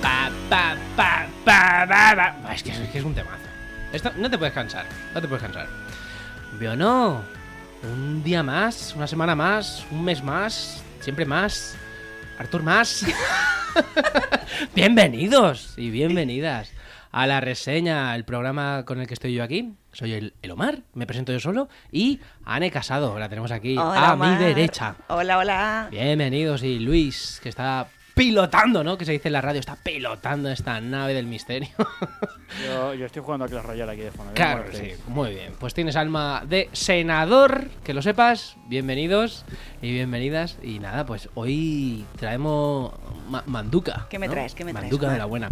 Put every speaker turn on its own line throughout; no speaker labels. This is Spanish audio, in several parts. Pa, pa, pa, pa, pa, pa. Ah, Es que, es que es un temazo. Esto- no te puedes cansar, no te puedes cansar. Veo no. Un día más, una semana más, un mes más, siempre más. Artur más. Bienvenidos y bienvenidas a la reseña, el programa con el que estoy yo aquí. Soy el, el Omar, me presento yo solo y Ane Casado, la tenemos aquí
Hola,
a
Omar.
mi derecha.
Hola, hola.
Bienvenidos y Luis, que está pilotando, ¿no? Que se dice en la radio, está pilotando esta nave del misterio.
Yo, yo estoy jugando a Clash Royale aquí de fondo. mira
claro,
cómo lo
sí.
hacéis.
Muy bien. Pues tienes alma de senador, que lo sepas. Bienvenidos y bienvenidas. Y nada, pues hoy traemos ma- manduca.
¿Qué me
¿no?
traes? ¿Qué me traes,
Manduca de
Juan?
la buena.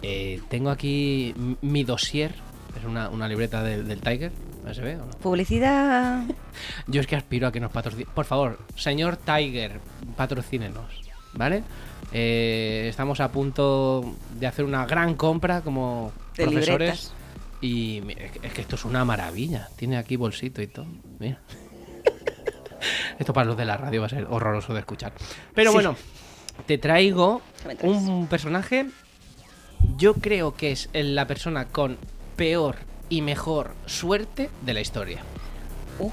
Eh, tengo aquí m- mi dossier. Es una, una libreta del, del Tiger. ¿No se ve o no?
Publicidad.
Yo es que aspiro a que nos patrocinen. Por favor, señor Tiger, patrocínenos, ¿vale? Eh, estamos a punto de hacer una gran compra como
De
profesores. Y mi- es que- es que esto es una maravilla. Tiene aquí bolsito y todo. Mira. esto para los de la radio va a ser horroroso de escuchar. Pero
Sí.
bueno, te traigo
¿Qué me traes?
un personaje. Yo creo que es el- la persona con peor y mejor suerte de la historia.
Uf,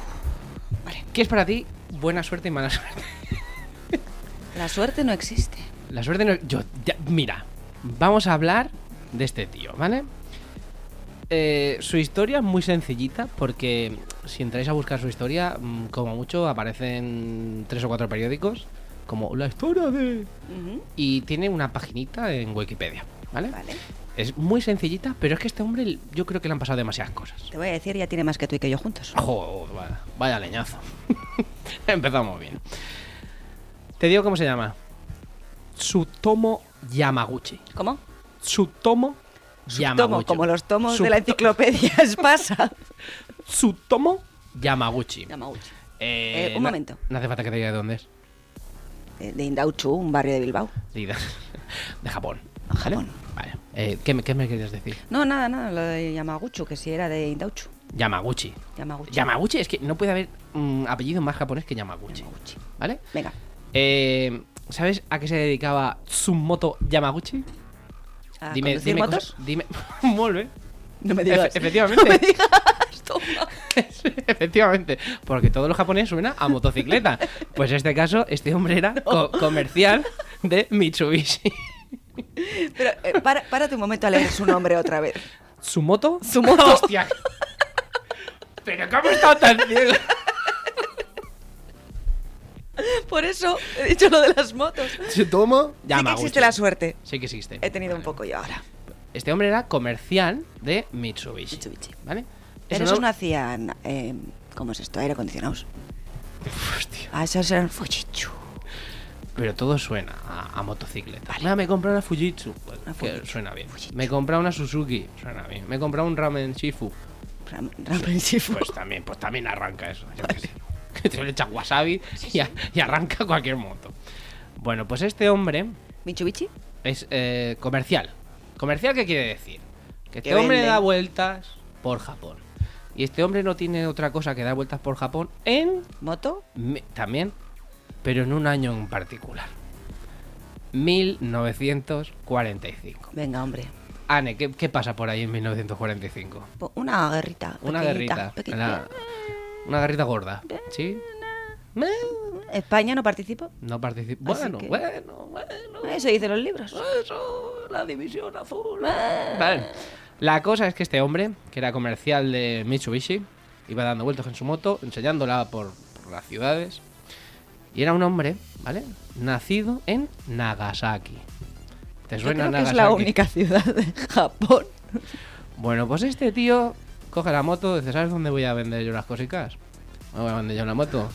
¿Qué es para ti buena suerte y mala suerte?
la suerte no existe.
La suerte no. Yo, ya- mira, vamos a hablar de este tío, ¿vale? Eh, su historia es muy sencillita porque si entráis a buscar su historia, mm, como mucho aparecen tres o cuatro periódicos, como la historia de.
Ujú,
Y tiene una paginita en Wikipedia, ¿vale?
Vale.
Es muy sencillita, pero es que este hombre yo creo que le han pasado demasiadas cosas.
Te voy a decir, ya tiene más que tú y que yo juntos.
Joder, vaya, vaya leñazo. Empezamos bien. Te digo cómo se llama. Tsutomo Yamaguchi.
¿Cómo?
Tsutomo
Tomo,
Yamaguchi.
como los tomos
Su-
de la enciclopedia Espasa.
Tsutomo Yamaguchi.
Yamauchi.
Eh,
Eh, un
na-
momento.
No hace falta que te diga de dónde es.
Eh, De Indauchu, un barrio de Bilbao.
De, de Japón.
Japón.
¿Vale? Vale. Eh, ¿qué, me- ¿Qué me querías decir?
No, nada, nada, lo de Yamaguchu, que sí era de Indauchu.
Yamaguchi.
Yamaguchi.
Yamaguchi es que no puede haber mm, apellido más japonés que Yamaguchi.
Yamaguchi.
¿Vale?
Venga,
Eh, ¿Sabes a qué se dedicaba Tsumoto Yamaguchi?
a conducir Ah, motos.
cosas- dime, Molt bé.
No me
Efe-
digas.
efectivamente.
No me digas. Toma.
efectivamente. Porque todo lo japonés suena a motocicleta. Pues en este caso, este hombre era co- comercial de Mitsubishi.
Pero eh, para- párate un momento a leer su nombre otra vez.
¿Sumoto?
Tsumoto.
¡Hostia! ¿Pero cómo he estado tan ciego?
Por eso he dicho lo de las motos.
¿Sutomo?
Sí que existe la suerte.
Sí que existe.
He tenido un
Vale.
poco yo ahora.
Este hombre era comercial de Mitsubishi.
Mitsubishi.
¿Vale?
Pero
Eso
esos no hacían. eh, ¿Cómo es esto? Aire acondicionados.
Hostia.
Ah, esos eran fuchichu.
Pero todo suena a, a motocicleta. Ah, me he comprado una Fujitsu. Pues,
Una
que
Fujitsu.
suena bien.
Fujitsu.
Me he comprado una Suzuki. Suena bien. Me he comprado un ramen Shifu.
Ram- Ramen Shifu.
Pues también, pues también arranca eso. yo qué sé. Que te le echas wasabi y, a- y arranca cualquier moto. Bueno, pues este hombre
Mitsubishi.
es eh, comercial. ¿Comercial qué quiere decir? Que este
Que
hombre
vende.
da vueltas por Japón. Y este hombre no tiene otra cosa que dar vueltas por Japón en
Moto.
Me- también, pero en un año en particular. 1945.
Venga, hombre.
Ane, ¿qué, qué pasa por ahí en 1945?
Po- Una guerrita.
Una
pequeñita,
guerrita.
pequeñita.
la- una guerrita gorda. ¿Sí?
España no participó.
No participa.
Así
Bueno,
que-
bueno, bueno.
Eso dicen los libros.
Eso, la división azul. eh. Vale. La cosa es que este hombre, que era comercial de Mitsubishi, iba dando vueltas en su moto, enseñándola por, por las ciudades. Y era un hombre, ¿vale? Nacido en Nagasaki. ¿Te
Yo
suena
creo que
Nagasaki?
es la única ciudad de Japón.
Bueno, pues este tío coge la moto, dice, ¿sabes dónde voy a vender yo las cositas? Me voy a vender yo la moto.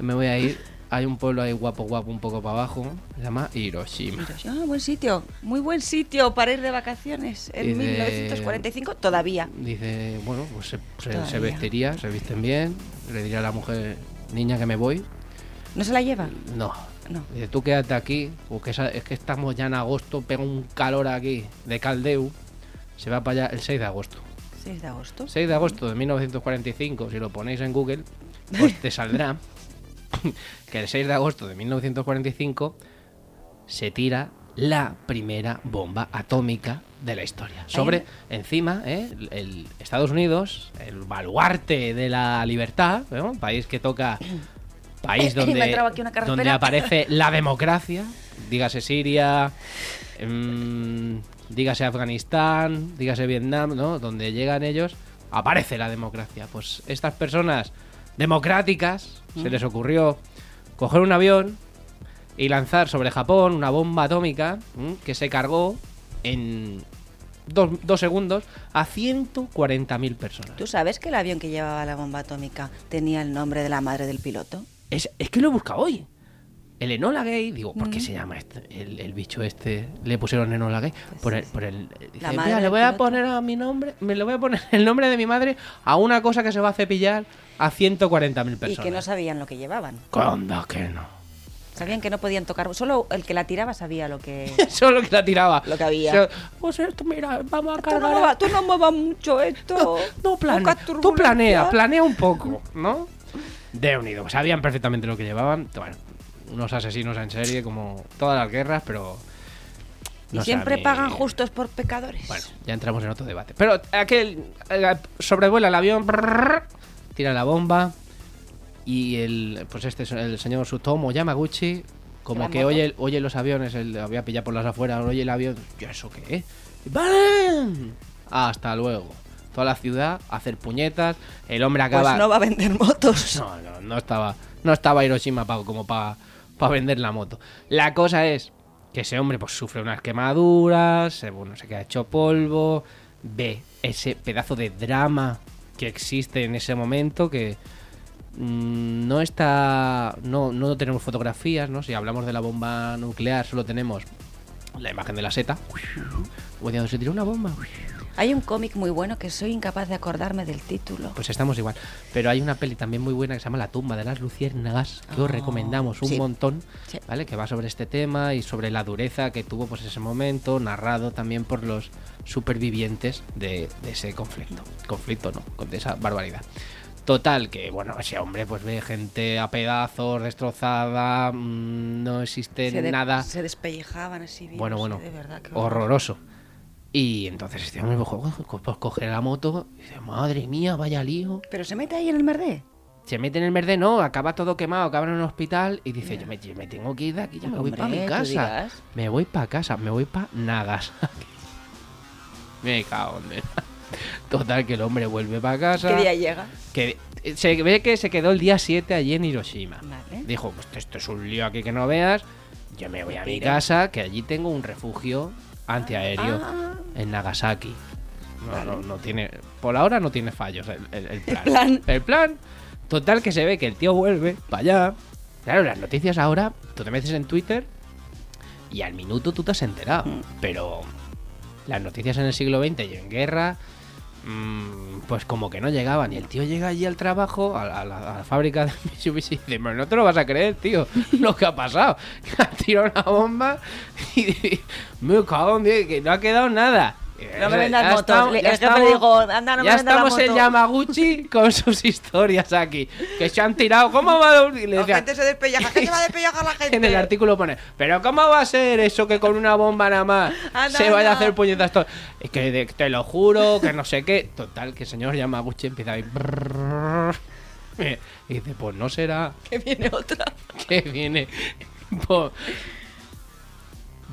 Me voy a ir, hay un pueblo ahí guapo, guapo, un poco para abajo, se llama Hiroshima.
Mira, yo, ah, buen sitio, muy buen sitio para ir de vacaciones en
Y de-
1945 todavía.
Dice, bueno, pues se, se- se
Todavía.
vestiría, se visten bien, le diría a la mujer, niña que me voy.
¿No se la lleva?
No.
No.
Dice, tú quédate aquí, porque esa- es que estamos ya en agosto, pega un calor aquí de Caldeu. Se va para allá el 6 de agosto.
6 de agosto.
6 de agosto de 1945, si lo ponéis en Google, pues te saldrá que el 6 de agosto de 1945 se tira la primera bomba atómica de la historia. Sobre, encima, ¿eh? el, el Estados Unidos, el baluarte de la libertad, ¿no? Un país que toca, país
Me ha
donde,
entrado aquí una carraspera.
donde aparece la democracia, dígase Siria, em, dígase Afganistán, dígase Vietnam, ¿no? Donde llegan ellos, aparece la democracia. Pues estas personas democráticas
Mm.
se les ocurrió coger un avión y lanzar sobre Japón una bomba atómica ¿m? que se cargó en dos, dos segundos a 140.000 personas.
¿Tú sabes que el avión que llevaba la bomba atómica tenía el nombre de la madre del piloto?
Es, es que lo he buscado hoy. El Enola Gay, digo, ¿por
Mm.
qué se llama este, el, el bicho este? Le pusieron Enola Gay.
Pues
por
sí,
el,
sí.
por el- dice,
madre
"Mira, le
del
voy a
piloto".
poner a mi nombre, me le voy a poner el nombre de mi madre a una cosa que se va a cepillar a 140.000 personas.
Y que no sabían lo que llevaban.
¿Cuándo que no?
Sabían que no podían tocar. Solo el que la tiraba sabía lo que.
Solo que la tiraba.
Lo que había.
Solo- pues esto, mira, vamos a
tú, no
cargar. a-
muevas, tú no muevas mucho esto.
No plane-
Poca
Tú
turbulencia.
planea, planea un poco, ¿no? De unido. pues Sabían perfectamente lo que llevaban. Bueno, unos asesinos en serie, como todas las guerras, pero.
Y
no sé, a
siempre
mí-
pagan justos por pecadores. Pues
Bueno, ya entramos en otro debate. Pero aquel eh, sobrevuela el avión, brrr, tira la bomba. Y el, pues este, el señor Sutomo Yamaguchi, como
Gran
que
moto.
oye, oye los aviones, él lo había pillado por las afueras, oye el avión, ¿yo eso qué? ¡Bam! Hasta luego. Toda la ciudad, a hacer puñetas, el hombre
pues
acaba...
no va a vender motos.
No, no, no estaba, no estaba Hiroshima pa- como para vender la moto. La cosa es que ese hombre pues sufre unas quemaduras, se, bueno, se queda hecho polvo, ve ese pedazo de drama que existe en ese momento que mm, no está no, no tenemos fotografías, ¿no? Si hablamos de la bomba nuclear solo tenemos la imagen de la seta. O de donde se tiró una bomba.
Hay un cómic muy bueno que soy incapaz de acordarme del título.
Pues estamos igual. Pero hay una peli también muy buena que se llama La tumba de las luciérnagas, que os
Ah,
recomendamos un
sí.
montón,
Sí.
¿vale? Que va sobre este tema y sobre la dureza que tuvo pues ese momento, narrado también por los supervivientes de, de ese conflicto. Conflicto, ¿no? Con- De esa barbaridad. Total, que bueno, ese hombre pues ve gente a pedazos, destrozada, mm, no existe
de-
nada.
Se despellejaban así. bien,
Bueno,
no sé,
bueno,
De verdad, qué horror.
horroroso. Y entonces este hombre pues, co- pues, coge la moto y dice, madre mía, vaya lío.
Pero se mete ahí en el merdé.
Se mete en el verde, no, acaba todo quemado, acaba en un hospital y dice, yo me, yo me tengo que ir de aquí, ya me voy
Hombre,
para mi
tú
casa.
dirás.
Me voy para casa, me voy para Nagasaki. me cago en Dios. Total, que el hombre vuelve para casa.
¿Qué día llega?
Que se ve que se quedó el día 7 allí en Hiroshima.
Vale.
Dijo, pues esto es un lío aquí que no veas. Yo me voy a mi
Tira.
casa, que allí tengo un refugio
Ah.
antiaéreo en Nagasaki. No, no, no tiene. Por ahora no tiene fallos el, el- el plan.
plan.
El plan. Total que se ve que el tío vuelve para allá. Claro, las noticias ahora, tú te metes en Twitter y al minuto tú te has enterado.
Mm.
Pero las noticias en el siglo XX y en guerra, mm, pues como que no llegaban. Y el tío llega allí al trabajo, a la, a la- a la fábrica de Mitsubishi, y dice: "Pero No te lo vas a creer, tío, lo que ha pasado. Ha tirado una bomba y dice: Me cago en Dios, que no ha quedado nada. Eh,
No me vendas
Ya
motos.
estamos-
Le-
ya
el jefe le
estamos-
dijo, anda, no me
ya
vendas la
estamos en
moto.
Yamaguchi con sus historias aquí. Que se han tirado. ¿Cómo va a un- y le
La
decía-
gente se despelleja. ¿Qué se va a despellejar la gente?
en el artículo pone, pero ¿cómo va a ser eso que con una bomba nada más
Anda,
se vaya a
anda.
hacer puñetas todo? Es que de- te lo juro, que no sé qué. Total, que el señor Yamaguchi empieza a ir... Y dice, pues no será
Que viene otra.
que viene por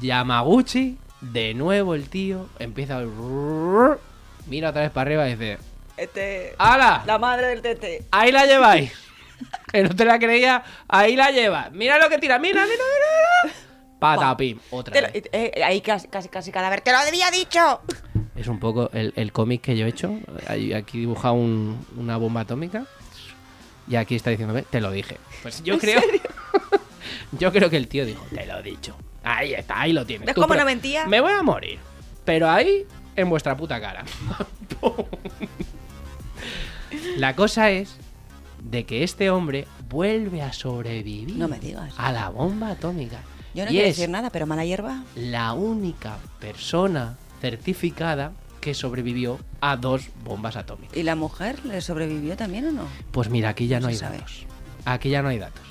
Yamaguchi, de nuevo el tío, empieza a... Mira otra vez para arriba y dice,
Este.
¡Hala!
La madre del tete.
Ahí la lleváis. Que no te la creía, ahí la lleva. Mira lo que tira, mira, mira, mira. mira. Patapim, otra
Te lo-
vez.
eh, eh, ahí casi, casi, casi cadáver. ¡Te lo había dicho!
Es un poco el, el cómic que yo he hecho. Ahí- Aquí dibuja un- una bomba atómica. Y aquí está diciéndome, te lo dije. Pues yo creo. yo creo que el tío dijo, te lo he dicho. Ahí está, ahí lo tienes.
¿Ves
Tú
cómo
pro-
no mentía?
Me voy a morir. Pero ahí, en vuestra puta cara. La cosa es de que este hombre vuelve a sobrevivir
No me digas.
a la bomba atómica.
Yo no
y
quiero
es
decir nada, pero mala hierba.
la única persona certificada que sobrevivió a dos bombas atómicas.
¿Y la mujer le sobrevivió también o no?
Pues mira, aquí ya no,
No
hay
se sabe.
datos. Aquí ya no hay datos.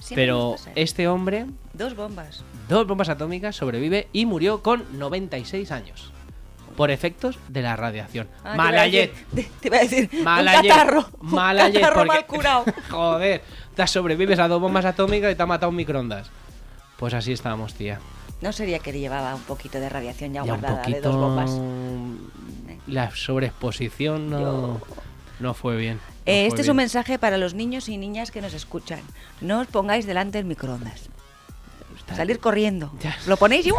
Siempre
Pero
nos pasa eso.
este hombre,
Dos bombas.
dos bombas atómicas, sobrevive y murió con 96 años. Por efectos de la radiación.
Ah, te iba a
Malayet.
decir- Te, te iba a decir.
Malayet.
Un catarro. un
Malayet,
catarro
porque-
mal curado.
Joder, te sobrevives a dos bombas atómicas y te ha matado un microondas. Pues así estábamos, tía.
No sería que llevaba un poquito de radiación
Ya
ya,
un
guardada
poquito.
de dos bombas.
La sobreexposición no, no fue bien. no
Eh,
fue
este es
bien.
un mensaje para los niños y niñas que nos escuchan. No os pongáis delante del microondas.
Está-
Salir corriendo.
Ya.
Lo ponéis y. ¡uh!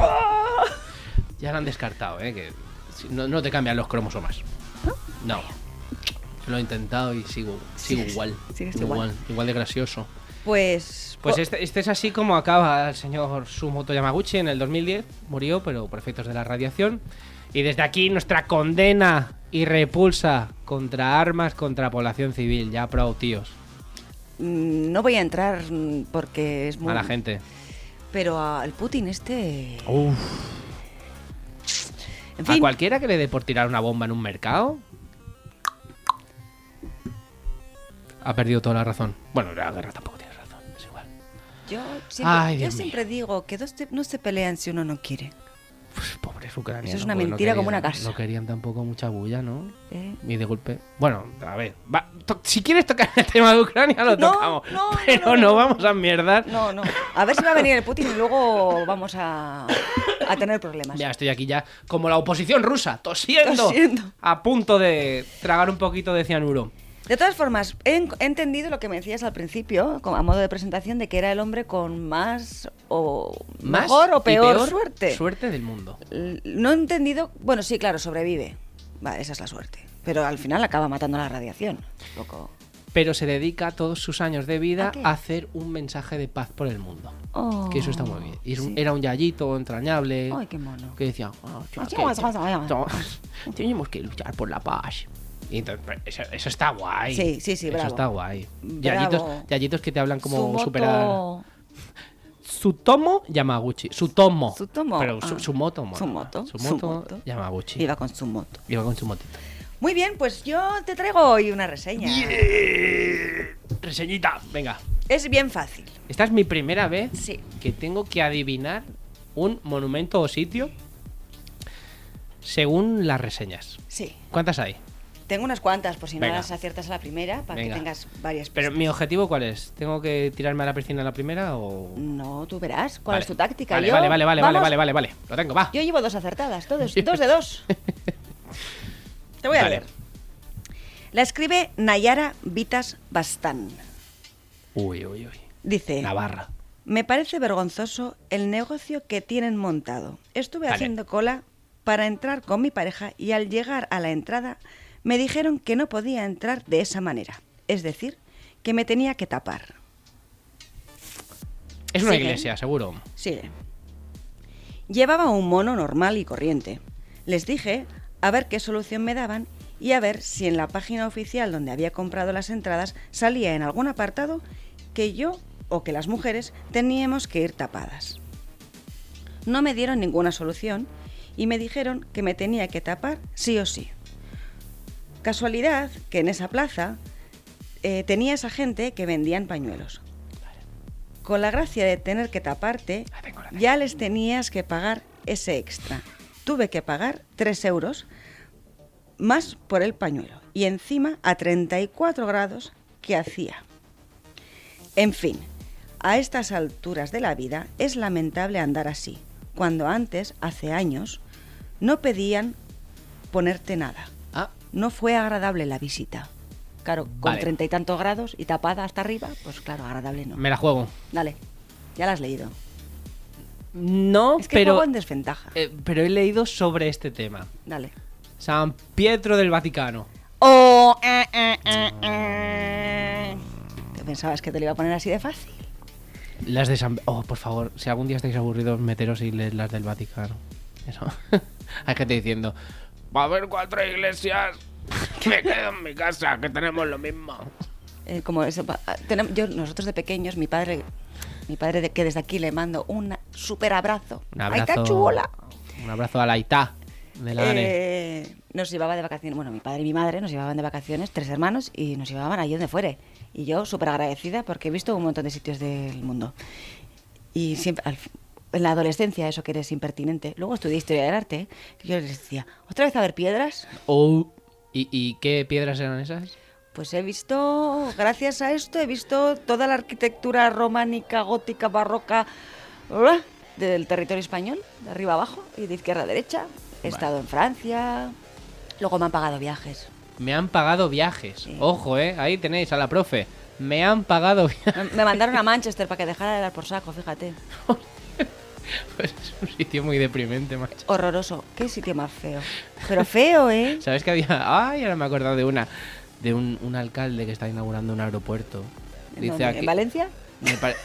Ya lo han descartado, ¿eh? Que si- no, no te cambian los cromosomas. No. Lo he intentado y sigo, sigo
Sigues-
igual.
sigues
igual.
igual.
Igual, de gracioso.
Pues.
Pues
po-
este, este es así como acaba el señor Sumoto Yamaguchi en el 2010. Murió, pero por efectos de la radiación. Y desde aquí nuestra condena y repulsa contra armas, contra población civil. Ya pro, tíos.
mm, No voy a entrar mm, porque es muy.
A la gente.
Pero al Putin este.
Uf.
En
A
fin,
cualquiera que le dé por tirar una bomba en un mercado. Ha perdido toda la razón. Bueno, la guerra tampoco tiene razón, es igual.
yo siempre,
Ay,
yo
Dios mío.
siempre digo que dos te- no se pelean si uno no quiere.
Pues pobres ucranianos.
Eso es una
pues,
mentira
querían-
como una casa.
No querían tampoco mucha bulla, ¿no?
¿eh?
Y de golpe. Bueno, a ver. va, to- si quieres tocar el tema de Ucrania, lo
No,
tocamos.
no, no,
pero no,
no, no, no.
vamos a mierdar.
No, no. A ver si va a venir el Putin y luego vamos a, a tener problemas.
Ya estoy aquí ya como la oposición rusa, tosiendo.
Tosiendo.
A punto de tragar un poquito de cianuro.
De todas formas, he, en- he entendido lo que me decías al principio, como a modo de presentación, de que era el hombre con más o
Más
mejor o
y
peor, suerte.
Suerte del mundo.
L- no he entendido. Bueno, sí, claro, sobrevive. Va, esa es la suerte. Pero al final acaba matando la radiación. Un poco.
pero se dedica todos sus años de vida
¿A qué?
a, hacer un mensaje de paz por el mundo.
Oh,
que eso está muy bien. Y es un-
sí.
Era un yayito entrañable.
Ay, qué mono.
Que decía, "Ah, chaval,
Así
que-
vas, vas, vas, vas".
to- tenemos que luchar por la paz. Y entonces, pues, eso, eso está guay.
Sí, sí, sí,
Eso
bravo.
está guay.
Bravo.
Yayitos, yayitos que te hablan como
Su
superar.
moto-
Sutomo Yamaguchi. Sutomo.
Su tomo.
Pero su,
ah.
su moto, mola.
Su moto.
Su
su
moto
moto.
Yamaguchi. Iba.
Iba con su moto.
con su motito.
Muy bien, pues yo te traigo hoy una reseña.
Reseñita, venga.
Es bien fácil.
Esta es mi primera vez
Sí.
que tengo que adivinar un monumento o sitio según las reseñas.
Sí.
¿Cuántas hay?
Tengo unas cuantas, por si
Venga.
no las aciertas a la primera, para
Venga.
que tengas varias
Pero
pistas.
mi objetivo cuál es? ¿Tengo que tirarme a la piscina a la primera o
No, tú verás cuál
Vale.
es tu táctica.
Vale,
Yo-
vale, vale, vale,
vamos,
vale, vale, vale, Lo tengo, va.
Yo llevo dos acertadas, todos, dos de dos. Te voy a
Vale.
leer. La escribe Nayara Vitas Bastán.
Uy, uy, uy.
Dice,
Navarra.
me parece vergonzoso el negocio que tienen montado. Estuve
Vale.
haciendo cola para entrar con mi pareja y al llegar a la entrada me dijeron que no podía entrar de esa manera. Es decir, que me tenía que tapar.
Es una
Sigue.
iglesia, seguro.
Sigue. Llevaba un mono normal y corriente. Les dije a ver qué solución me daban y a ver si en la página oficial donde había comprado las entradas salía en algún apartado que yo o que las mujeres teníamos que ir tapadas. No me dieron ninguna solución y me dijeron que me tenía que tapar sí o sí. Casualidad que en esa plaza eh, tenía esa gente que vendían pañuelos. Con la gracia de tener que taparte,
La tengo, la tengo.
ya les tenías que pagar ese extra. Tuve que pagar 3 euros más por el pañuelo y encima a 34 grados que hacía. En fin, a estas alturas de la vida es lamentable andar así, cuando antes, hace años, no pedían ponerte nada.
Ah,
No fue agradable la visita. Claro, con
Vale.
treinta y tantos grados y tapada hasta arriba, pues claro, agradable no.
me la juego.
Dale, ya la has leído.
No,
Es que
pero
juego en desventaja.
eh, pero he leído sobre este tema.
Dale.
San Pietro del Vaticano.
O... eh, eh, eh, eh. ¿Te pensabas que te lo iba a poner así de fácil?
Las de San... Oh, por favor, si algún día estáis aburridos, meteros y leed las del Vaticano. Eso. Hay gente diciendo... Va a haber cuatro iglesias. Que me quedo en mi casa, que tenemos lo mismo.
Eh, como eso, pa- ah, tenem- yo, nosotros de pequeños, mi padre, mi padre de- que desde aquí le mando un super abrazo.
Un abrazo...
¡Ay, qué chula!
Un abrazo a la Itá de la Dane.
Eh, nos llevaba de vacaciones, bueno, mi padre y mi madre nos llevaban de vacaciones, tres hermanos, y nos llevaban allí donde fuere. Y yo súper agradecida porque he visto un montón de sitios del mundo. Y siempre, al- en la adolescencia, eso que eres impertinente. Luego estudié historia del arte, que yo les decía, ¿otra vez a ver piedras?
Oh, ¿y, y qué piedras eran esas?
Pues he visto, gracias a esto, he visto toda la arquitectura románica, gótica, barroca, ¡ah! del territorio español, de arriba abajo y de izquierda a derecha. He estado en Francia, luego me han pagado viajes.
Me han pagado viajes.
Sí.
Ojo, eh. Ahí tenéis a la profe. Me han pagado viajes.
Me- Me mandaron a Manchester para que dejara de dar por saco, fíjate.
Es un sitio muy deprimente, macho.
Horroroso. Qué sitio más feo. Pero feo, ¿eh?
¿Sabes que había.? Ay, ahora me he acordado de una. De un, un alcalde que está inaugurando un aeropuerto.
¿En
Dice
dónde?
aquí.
¿En Valencia?
me pare-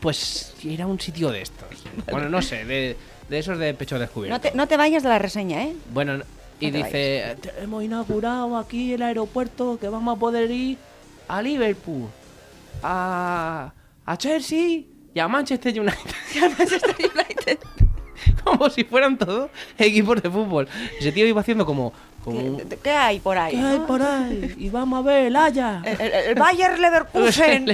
Pues era un sitio de estos. Bueno, no sé, de, de esos de pecho descubierto.
No te, no te vayas de la reseña, ¿eh?
Bueno, n- y
No te
dice, "Te- hemos inaugurado aquí el aeropuerto que vamos a poder ir a Liverpool, a, a Chelsea y a Manchester United. como si fueran todos equipos de fútbol. Ese tío iba haciendo como... como un,
¿Qué, qué hay por ahí?
"¿Qué hay
no?
por ahí? Y vamos a ver el Haya.
El, el- el Bayer Leverkusen.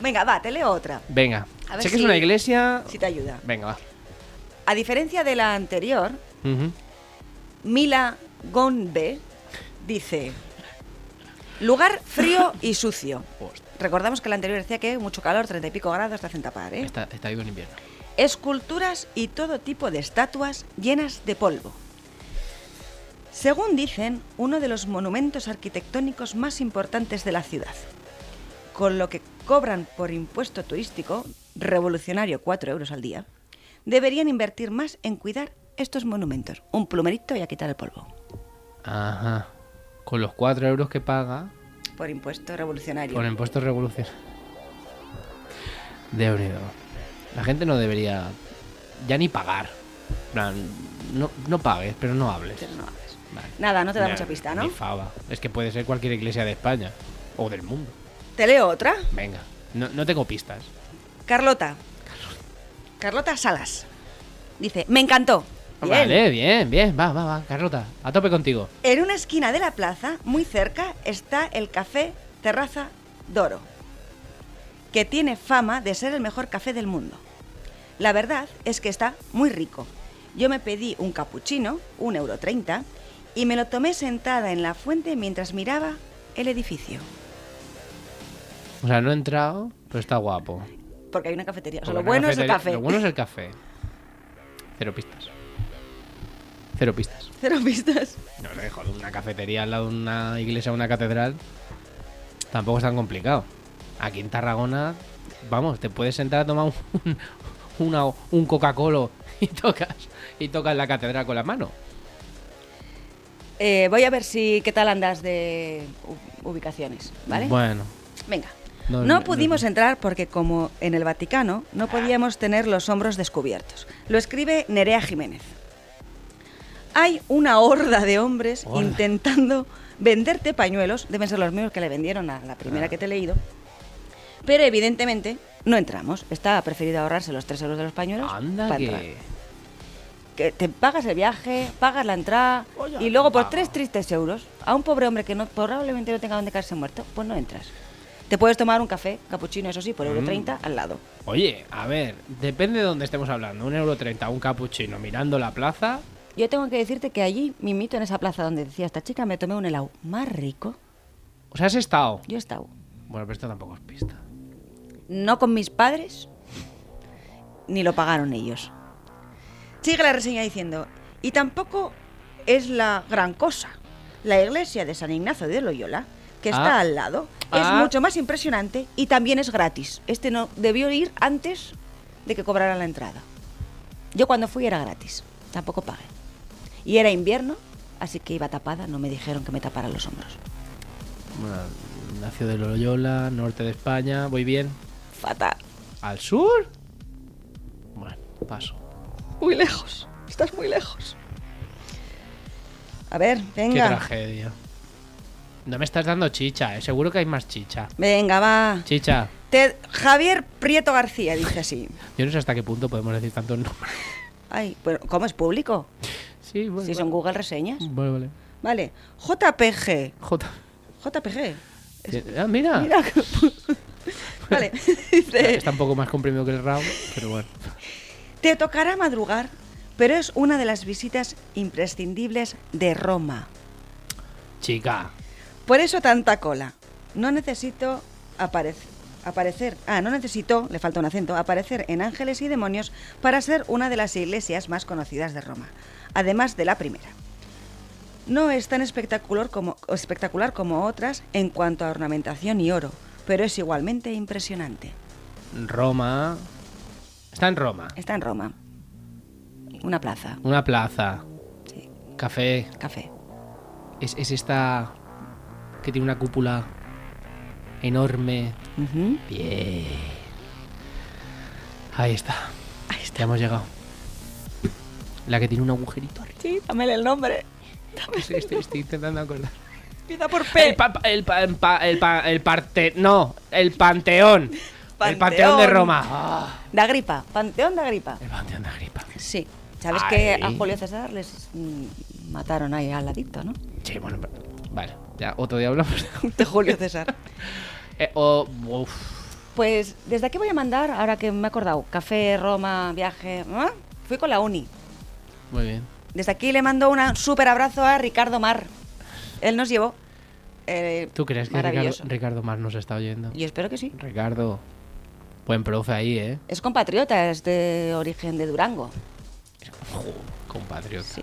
Venga, va, te leo otra.
Venga,
A ver
sé que es
si-
una iglesia...
Si te ayuda.
Venga, va.
A diferencia de la anterior,
Ujú.
Mila Gombe dice: Lugar frío y sucio.
Hostia,
Recordamos que la anterior decía que mucho calor, treinta y pico grados, te hacen tapar, ¿eh?
Está, está vivo en invierno.
Esculturas y todo tipo de estatuas llenas de polvo. Según dicen, uno de los monumentos arquitectónicos más importantes de la ciudad. Con lo que cobran por impuesto turístico, revolucionario 4 euros al día, deberían invertir más en cuidar estos monumentos. Un plumerito y a quitar el polvo.
Ajá. Con los 4 euros que paga,
Por impuesto revolucionario.
Con impuestos revolución. De unido. La gente no debería ya ni pagar. En plan, no, no pagues, pero no hables.
Pero no hables.
Vale.
Nada, no te da
Nah,
mucha pista, ¿no?
ni fava. Es que puede ser cualquier iglesia de España o del mundo.
Te leo otra.
Venga, no, no tengo pistas.
Carlota. Carlota Salas. Dice, me encantó. Bien.
Vale, bien, bien. Va, va, va, Carlota. A tope contigo.
En una esquina de la plaza, muy cerca, está el café Terraza Doro, que tiene fama de ser el mejor café del mundo. La verdad es que está muy rico. Yo me pedí un cappuccino, 1,30 euro, y me lo tomé sentada en la fuente mientras miraba el edificio.
O sea, no he entrado, pero está guapo.
Porque hay una cafetería. O sea,
Porque
lo
una
bueno es el
cafetería-
café.
Lo bueno es el café. Cero pistas. Cero pistas.
Cero pistas.
No, no, joder, una cafetería al lado de una iglesia o una catedral tampoco es tan complicado. Aquí en Tarragona, vamos, te puedes sentar a tomar un, una- un Coca-Cola y tocas, y tocas la catedral con la mano.
Eh, voy a ver si qué tal andas de u- ubicaciones, ¿vale?
Bueno,
Venga.
No,
No,
no,
pudimos
no.
entrar porque, como en el Vaticano, no podíamos tener los hombros descubiertos. Lo escribe Nerea Jiménez. Hay una horda de hombres
Horda.
intentando venderte pañuelos, deben ser los mismos que le vendieron a la primera que te he leído, pero evidentemente no entramos. Está preferido ahorrarse los 3 euros de los pañuelos
anda
para
que.
entrar. Que te pagas el viaje, pagas la entrada
Oye,
y luego por
pago.
tres tristes euros a un pobre hombre que no, probablemente no tenga donde caerse muerto, pues no entras. Te puedes tomar un café, capuchino, eso sí, por euro
Mm.
30 al lado.
Oye, a ver, depende de dónde estemos hablando. Un euro treinta, un capuchino mirando la plaza.
Yo tengo que decirte que allí, mimito en esa plaza donde decía esta chica, me tomé un helado más rico.
O sea, has estado.
Yo he estado,
Bueno, pero esto tampoco es pista.
no con mis padres, ni lo pagaron ellos. Sigue la reseña diciendo, y tampoco es la gran cosa. La iglesia de San Ignacio de Loyola, que está
Ah.
al lado,
Ah.
es mucho más impresionante y también es gratis. Este no debió ir antes de que cobrara la entrada. Yo cuando fui era gratis, tampoco pagué. Y era invierno, así que iba tapada, no me dijeron que me tapara los hombros.
Bueno, nació de Loyola, norte de España, voy bien.
Fatal.
¿Al sur? Bueno, paso.
Muy lejos, estás muy lejos. A ver,
Qué
venga.
tragedia. No me estás dando chicha, eh. seguro que hay más chicha.
Venga, va.
Chicha,
Te- Javier Prieto García, dije así.
yo no sé hasta qué punto podemos decir tantos nombres.
Ay, pero ¿cómo es público?
Sí, bueno. Mm.
Si son Google reseñas.
vale. Vale, vale.
Vale, JPG.
J.
JPG.
Ah, mira.
Mira. vale, dice,
Está un poco más comprimido que el round, pero bueno.
te tocará madrugar, pero es una de las visitas imprescindibles de Roma.
Chica,
Por eso tanta cola. No necesito aparecer. Aparecer, ah, no necesito, le falta un acento, aparecer en Ángeles y Demonios para ser una de las iglesias más conocidas de Roma, además de la primera. No es tan espectacular como, espectacular como otras en cuanto a ornamentación y oro, pero es igualmente impresionante.
Roma. Está en Roma.
Está en Roma. Una plaza,
Una plaza.
Sí.
Café.
café.
Es, es esta que tiene una cúpula enorme.
Ujú.
Bien. Ahí está.
Ahí
Ya hemos llegado. La que tiene un agujerito arriba.
Sí, dame el nombre.
Estoy, estoy- estoy intentando acordar.
Empieza por P.
El, pa- pa- el, pa- el, pa- el pa- el parte. No, el panteón. El panteón de
Panteón.
Roma. Ah,
Da Agripa, Panteón de Agripa.
el panteón de Agripa.
Sí. ¿Sabes
Ay.
que a Julio César les mm, mataron ahí al adicto, no?
Sí, bueno, pero- vale. Ya, otro día hablamos.
De Julio César.
Eh, o- uf.
Pues desde aquí voy a mandar, ahora que me he acordado, café, Roma, viaje. ¿ah? Fui con la uni.
Muy bien.
Desde aquí le mando un súper abrazo a Ricardo Mar. Él nos llevó. Eh,
¿Tú crees que Ricardo,
Maravilloso.
Ricardo Mar nos está oyendo?
Yo espero que sí.
Ricardo, buen profe ahí, ¿eh?
Es compatriota, es de origen de Durango.
Jo, compatriota.
Sí.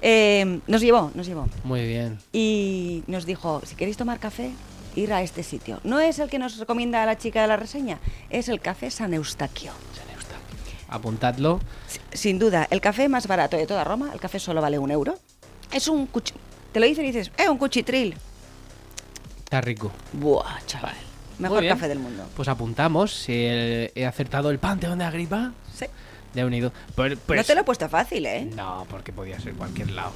Eh, nos llevó, nos llevó.
Muy bien.
Y nos dijo, si queréis tomar café, ir a este sitio. No es el que nos recomienda la chica de la reseña, es el café San Eustaquio.
San Eustaquio. Apuntadlo.
Si- Sin duda, el café más barato de toda Roma, el café solo vale un euro. Es un cuchi... Te lo dicen y dices, eh, un cuchitril.
Está rico.
Buah, chaval.
Muy
Mejor
bien.
café del mundo.
Pues apuntamos. Si el- he acertado el panteón de Agripa,
Sí.
de unido. Pues- pues-
no te lo he puesto fácil, ¿eh?
No, porque podía ser cualquier lado.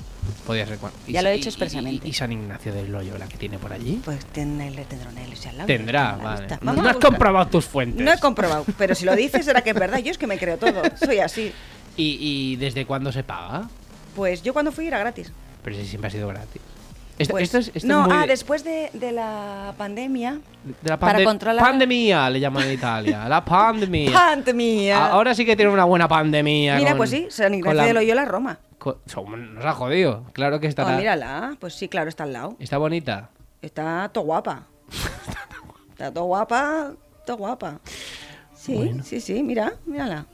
Podía ser cual- y-
Ya lo he
y-
hecho
y-
expresamente.
Y, y San Ignacio de Loyola que tiene por allí.
Pues ten- le tendrá una ilusión. la-
Tendrá,
la
vale.
lista. Vamos
No
a
has
buscar.
comprobado tus fuentes.
No he comprobado, pero si lo dices será que es verdad. Yo es que me creo todo, soy así.
¿Y, ¿Y desde cuándo se paga?
Pues yo cuando fui era gratis.
Pero si siempre ha sido gratis. Esto,
Pues,
esto es, esto es
no,
muy
ah,
de-
después de, de la pandemia.
de la
para
pande-
controlar-
pandemia, le llaman en Italia. la pandemia.
¡Pandemia!
Ah, Ahora sí que tiene una buena pandemia.
Mira,
con-
pues sí, San
con
Ignacio
la-
de Loyola, Roma.
con- so- nos ha jodido. Claro que está.
Oh, mírala, pues sí, claro, está al lado.
Está bonita.
Está todo guapa. está todo guapa, todo guapa. Sí, sí, sí, mira, mírala.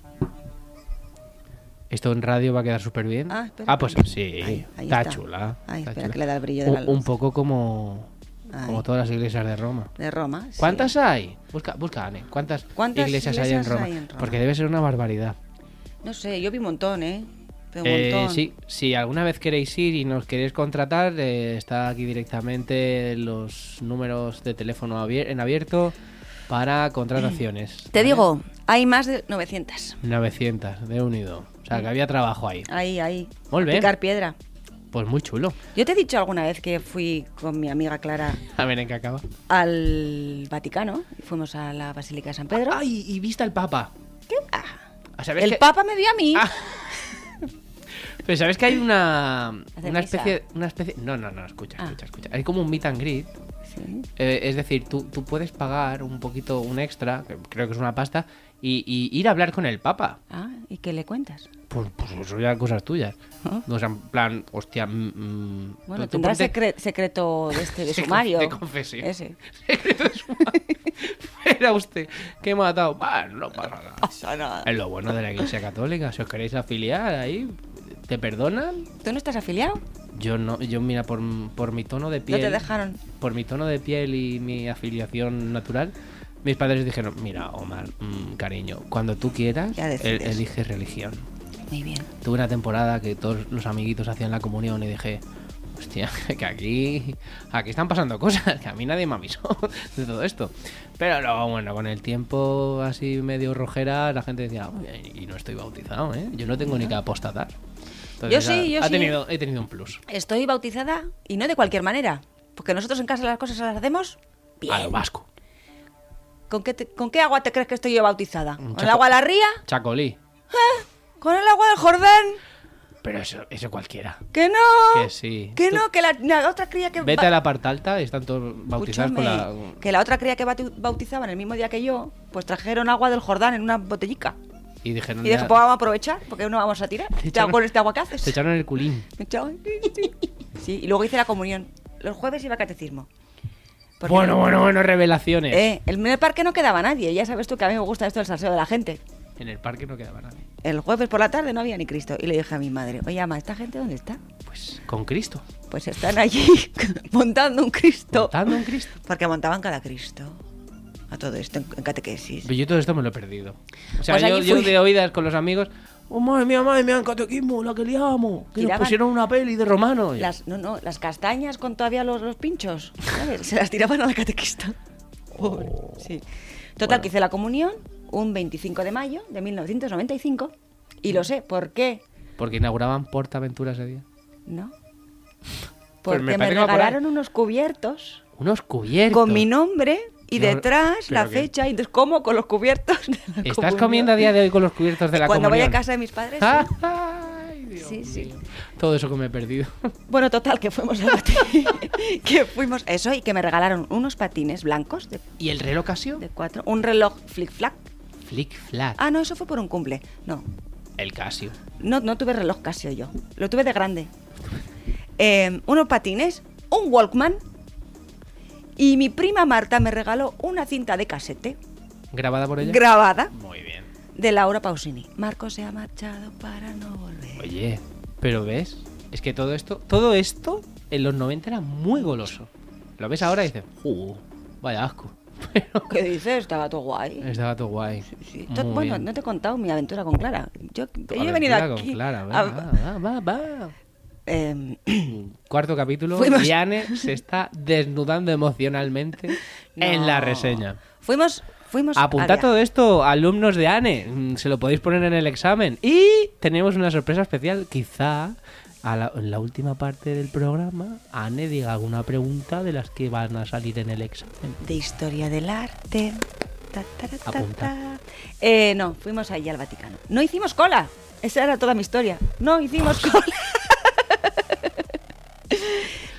Esto en radio va a quedar súper bien.
Ah, espera.
pues sí.
Ahí- ahí
está,
está.
chula.
Ay,
está
espera,
chula.
que le da el brillo de
un,
la luz.
un poco como,
Ay.
como todas las iglesias de Roma.
De Roma. sí.
¿Cuántas hay? Busca, busca Ane. ¿Cuántas,
¿Cuántas
hay, en
iglesias
Roma?
hay en Roma?
Porque debe ser una barbaridad.
No sé, yo vi un montón, ¿eh? Pero un
Eh,
montón.
sí, si alguna vez queréis ir y nos queréis contratar, eh, está aquí directamente los números de teléfono abier- en abierto para contrataciones.
Te
¿vale?
digo, hay más de 900.
900 de unido. O sea, que había trabajo ahí.
Ahí, ahí.
Muy
A
bien.
Picar piedra.
Pues muy chulo.
Yo te he dicho alguna vez que fui con mi amiga Clara
A ver en qué acaba.
al Vaticano. Fuimos a la Basílica de San Pedro.
¡Ay! Y viste al Papa.
¿Qué? Ah,
Ah, ¿sabes
el
que-
Papa me vio a mí.
Ah. Pero sabes que hay una.
Hacer
Una
misa.
especie, una especie. No, no, no, escucha,
Ah.
escucha, escucha. Hay como un meet and greet.
Sí.
Eh, es decir, tú, tú puedes pagar un poquito, un extra, que creo que es una pasta, y, y ir a hablar con el Papa.
Ah, ¿y qué le cuentas?
Pues, pues eso ya cosas tuyas.
Ah.
No, o sea, en plan, hostia. mm, mm,
Bueno,
tú- tú
tendrá
ponte-
secre- secreto de este de
Sí,
sumario.
de confesión.
Ese.
Era usted, que he matado. Bueno, no pasa nada.
Pasa nada.
Es lo bueno de la Iglesia Católica. Si os queréis afiliar ahí, ¿te perdonan?
¿Tú no estás afiliado?
Yo no, yo mira, por, por mi tono de piel.
No te dejaron.
Por mi tono de piel y mi afiliación natural, mis padres dijeron: Mira, Omar, mm, cariño, cuando tú quieras,
Ya
el-
decides.
eliges religión.
Muy bien.
Tuve una temporada que todos los amiguitos hacían la comunión y dije, hostia, que aquí, aquí están pasando cosas, que a mí nadie me avisó de todo esto. Pero luego, bueno, con el tiempo así medio rojera, la gente decía, "Oye, y no estoy bautizado, ¿eh? Yo no tengo ni que apostatar. Entonces,
Yo sí,
ha-
yo
ha
sí.
Tenido, he tenido un plus.
Estoy bautizada y no de cualquier manera. Porque nosotros en casa las cosas las hacemos bien.
A lo vasco.
¿Con qué, te- ¿Con qué agua te crees que estoy yo bautizada?
Un
¿Con el
chapo-
agua de la ría?
Chacolí.
¿Con el agua del Jordán?
Pero eso, eso cualquiera.
Que no.
Que sí.
Que
Tú-
no, que la, la otra cría que...
Vete
ba-
a la parte alta y están todos bautizados con la...
Escúchame, Que la otra cría que batu- bautizaban el mismo día que yo, pues trajeron agua del Jordán en una botellica.
Y dijeron...
Y dije,
"Ya".
pues vamos a aprovechar, porque no vamos a tirar.
Te
Ya
echaron-
con este agua que haces.
Se echaron el culín.
Me echaron- Sí, y luego hice la comunión. Los jueves iba a catecismo. Porque-
Bueno, bueno, bueno, revelaciones.
Eh, en el parque no quedaba nadie. Ya sabes tú que a mí me gusta esto del salseo de la gente.
En el parque no quedaba nadie.
El jueves por la tarde no había ni Cristo. Y le dije a mi madre, oye, ama, ¿esta gente dónde está?
Pues con Cristo.
Pues están allí montando un Cristo.
Montando un Cristo.
Porque montaban cada Cristo. A todo esto en, en catequesis.
Pero yo todo esto me lo he perdido. O sea,
Pues
yo,
allí
yo
fui.
de oídas con los amigos. Oh, madre mía, madre mía, en catequismo, la que liamos. Que nos
Tiraban-
pusieron una peli de romano. Y-
Las, no, no, las castañas con todavía los, los pinchos. ¿sabes? Se las tiraban a la catequista.
Oh.
Pobre. Sí. Total, que hice la comunión un 25 de mayo de 1995. Y
Mm.
lo sé, ¿por qué?
Porque inauguraban PortAventura ese día.
¿No?
Pues
Porque
me
me,
parece que va por ahí.
regalaron unos cubiertos
Unos cubiertos.
con mi nombre y
Pero-
detrás la
pero que-
fecha. Y entonces, ¿cómo? Con los cubiertos de la
¿Estás
comunión.
comiendo a día de hoy con los cubiertos de la
Cuando
comunión? Ah.
voy a casa de mis padres. sí.
Ay, Dios
Sí, sí.
mío. Todo eso que me he perdido.
Bueno, total, que fuimos a Madrid, que fuimos eso y que me regalaron unos patines blancos de,
¿Y el reloj Casio?
de cuatro, un reloj flick-flack.
Flick Flack.
Ah, no, eso fue por un cumple. No,
El Casio.
no, no tuve reloj Casio yo, lo tuve de grande. Eh, unos patines, un Walkman y mi prima Marta me regaló una cinta de casete
¿Grabada por ella?
grabada
Muy bien.
de Laura Pausini. Marco se ha marchado para no volver.
Oye, pero ves, es que todo esto, todo esto en los 90 era muy goloso. Lo ves ahora y dices, "Uh, vaya asco. Pero
¿Qué dices? Estaba todo guay.
estaba todo guay.
Sí,
Muy
to- bueno,
bien.
no te he contado mi aventura con Clara. Yo,
Tu
yo he venido
aventura
aquí.
con Clara,
a-
va, va, va, va.
em,
Cuarto capítulo,
Fuimos-
Diane se está desnudando emocionalmente en
no.
la reseña.
Fuimos, fuimos.
Apuntad
área.
todo esto, alumnos de ANE, mm, se lo podéis poner en el examen. Y tenemos una sorpresa especial, quizá a la- en la última parte del programa ANE diga alguna pregunta de las que van a salir en el examen.
de historia del arte. Ta, ta, ta, ta,
Apunta.
ta. Eh, no, fuimos allí al Vaticano. No hicimos cola. Esa era toda mi historia. No hicimos cola.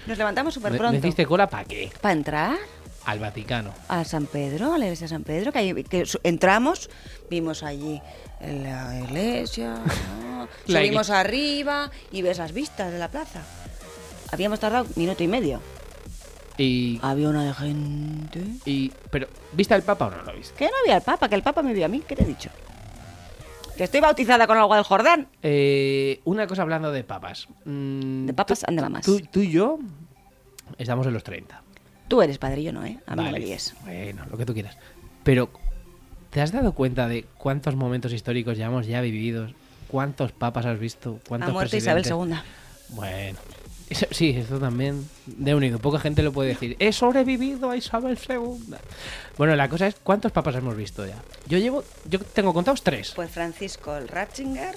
Nos levantamos súper
¿Me- ¿Me
pronto.
hiciste cola para qué?
Para entrar
Al Vaticano.
a San Pedro, a la iglesia de San Pedro, que, ahí- que su- entramos, vimos allí la iglesia, ¿no?
La
subimos
iglesia.
arriba y ves las vistas de la plaza. Habíamos tardado minuto y medio.
Y,
Había una de gente.
y- pero, ¿viste al Papa o no lo viste?
Que no había al Papa, que el Papa me vio a mí, ¿qué te he dicho? Que estoy bautizada con agua del Jordán.
Eh, una cosa hablando de papas. Mm,
De papas
tú-
and de mamás.
Tú, tú y yo estamos en los 30.
Tú eres padre, yo no, ¿eh? A mí no
Vale.
me líes.
Bueno, lo que tú quieras. Pero, ¿te has dado cuenta de cuántos momentos históricos llevamos ya vividos? ¿Cuántos papas has visto?
Ha
¿Cuántos
muerto Isabel
presidentes?
II.
Bueno. Eso- sí, esto también de unido. Poca gente lo puede decir. He sobrevivido a Isabel II. Bueno, la cosa es cuántos papas hemos visto ya. Yo llevo, yo tengo contados tres.
Pues Francisco el Ratzinger.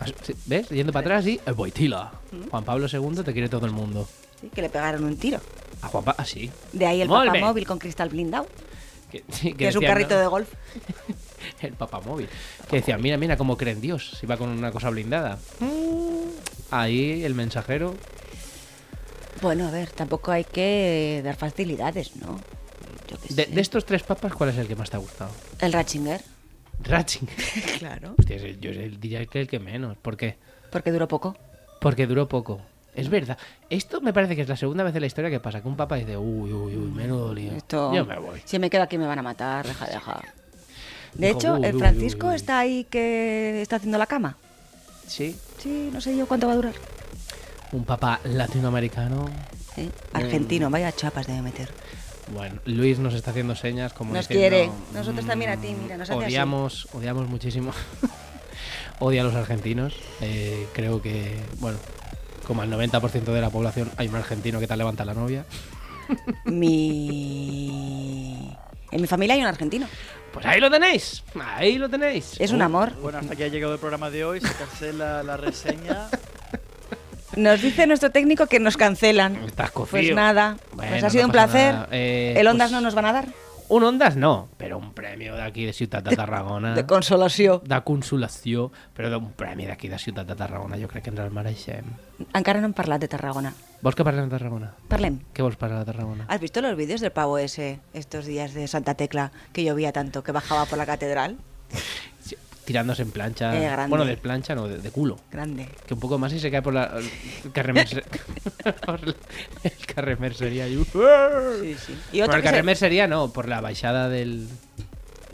As- sí, ¿Ves? Yendo para atrás y eh, Boitila. Juan Pablo II te quiere todo el mundo.
sí, que le pegaron un tiro.
A Juan Pablo, así.
De ahí el
Molt
Papa
bé.
móvil con cristal blindado,
Que, sí, que
que es un
decían,
carrito
¿no?
de golf.
El papamóvil. Que decía, mira, mira cómo cree en Dios. Si va con una cosa blindada. Mm, Ahí el mensajero.
Bueno, a ver, tampoco hay que dar facilidades, ¿no? Yo qué
De,
sé.
de estos tres papas, ¿cuál es el que más te ha gustado?
El Ratzinger.
Ratzinger.
Claro.
Hostia, ese- yo ese diría que el que menos. ¿Por qué?
Porque duró poco.
Porque duró poco. Es verdad. Esto me parece que es la segunda vez en la historia que pasa que un papa dice, uy, uy, uy, menudo lío.
Esto,
Yo me voy.
Si me quedo aquí me van a matar, deja, deja. De
Dijo,
hecho,
"Uy,
el
uy,
Francisco
uy".
está ahí que está haciendo la cama.
Sí.
Sí, no sé yo cuánto va a durar.
Un papa latinoamericano.
Sí, ¿Eh? Argentino, vaya chapas debe meter.
Bueno, Luis nos está haciendo señas como
Nos
diciendo,
quiere. Nosotros también a ti, mira, nos hace así".
odiamos, odiamos muchísimo. odia a los argentinos. Eh, creo que, bueno, como al 90% de la población hay un argentino que te levanta la novia.
Mi... En mi familia hay un argentino.
Pues ahí lo tenéis, ahí lo tenéis. Uh,
Es un amor.
Bueno, hasta aquí ha llegado el programa de hoy. Se cancela la reseña.
Nos dice nuestro técnico que nos cancelan.
Estás cocido.
Pues nada,
Bueno,
pues ha
no
sido un
pasa
placer.
nada. Eh,
El Ondas
pues-
no nos van a dar.
Un Ondas no, pero un premio de aquí de Ciutat de Tarragona.
De consolació.
de consolació, però d'un premi d'aquí de Ciutat de Tarragona, jo crec que ens el mereixem.
Encara no hem parlat de Tarragona.
Vols que parlem de Tarragona?
Parlem.
Què vols parlar de Tarragona?
¿Has visto los vídeos del pavo ese estos días de Santa Tecla que llovía tanto que bajaba por la catedral?
Sí, tirándose en plancha.
Eh, grande.
bueno, de plancha no, de, de culo.
Grande.
Que un poco más y se cae por la... El carremer... por la- el carremer sería... yo.
Sí, sí. Y
Por
otro
el
que se-
carremer sería, no, por la baixada del...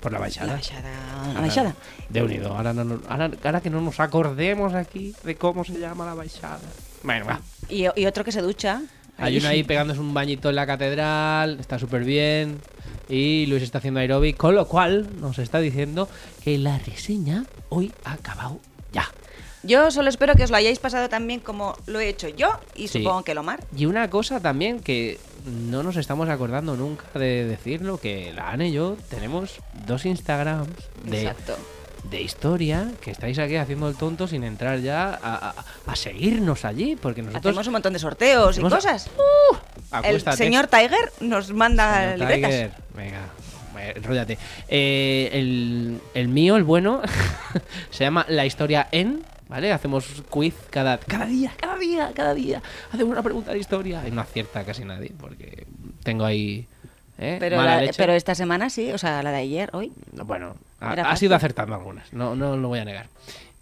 Por la
La
baixada.
baixada. La baixada.
De unido. Ahora, no, nos- ahora, ahora que no nos acordemos aquí de cómo se llama la baixada. Bueno, va.
Y, y otro que se ducha.
Hay uno ahí pegándose un bañito en la catedral, está súper bien. Y Luis está haciendo aeróbic, con lo cual nos está diciendo que la reseña hoy ha acabado ya.
Yo solo espero que os lo hayáis pasado también como lo he hecho yo y
Sí.
supongo que Lomar.
Y una cosa también que no nos estamos acordando nunca de decirlo, que la Ana y yo tenemos dos Instagrams de,
Exacto.
de historia que estáis aquí haciendo el tonto sin entrar ya a, a- a seguirnos allí, porque nosotros...
Hacemos un montón de sorteos
Hacemos-
y cosas. El
Acuéstate.
señor Tiger nos manda
Señor
libretas.
Tiger, Venga, eh, enróllate. Eh, el, el mío, el bueno, se llama La historia en. ¿Vale? Hacemos quiz cada, cada día, cada día, cada día. Hacemos una pregunta de historia. Y no acierta casi nadie, porque tengo ahí. ¿eh?
Pero,
mala
la-
leche.
pero esta semana sí, o sea, la de ayer, hoy.
Bueno, ha,
Era
ha
fácil.
sido acertando algunas, no, no lo voy a negar.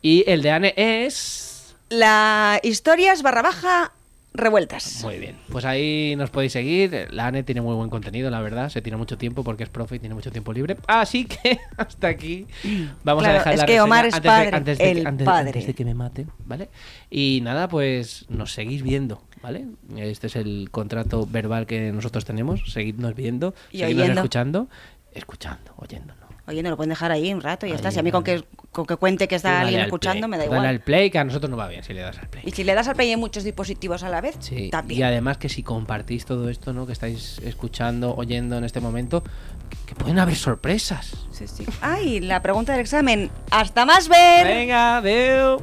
Y el de Ane es.
La historias barra baja revueltas.
Muy bien. Pues ahí nos podéis seguir. La ANE tiene muy buen contenido, la verdad. Se tira mucho tiempo porque es profe y tiene mucho tiempo libre. Así que hasta aquí. Vamos
Claro,
a dejar
es
la
que
reseña
Omar es
antes de-
padre,
antes de que-
el
antes-
padre.
antes de que me mate, ¿vale? Y nada, pues nos seguís viendo, ¿vale? Este es el contrato verbal que nosotros tenemos. Seguidnos viendo,
Y
seguidnos
oyendo.
escuchando, escuchando, oyéndonos.
Oye, no lo pueden dejar ahí un rato y ya
Ahí,
está. Si a mí con que, con que cuente
Tú
que está
dale
alguien
al
escuchando
play.
me da
Dale al
igual.
play, que a nosotros no va bien si le das al play.
Y si le das al play en muchos dispositivos a la vez,
Sí, y
también.
además que si compartís todo esto, ¿no? Que estáis escuchando, oyendo en este momento, que- que pueden haber sorpresas.
Sí, sí. Ay, la pregunta del examen. ¡Hasta más ver!
Venga, adiós.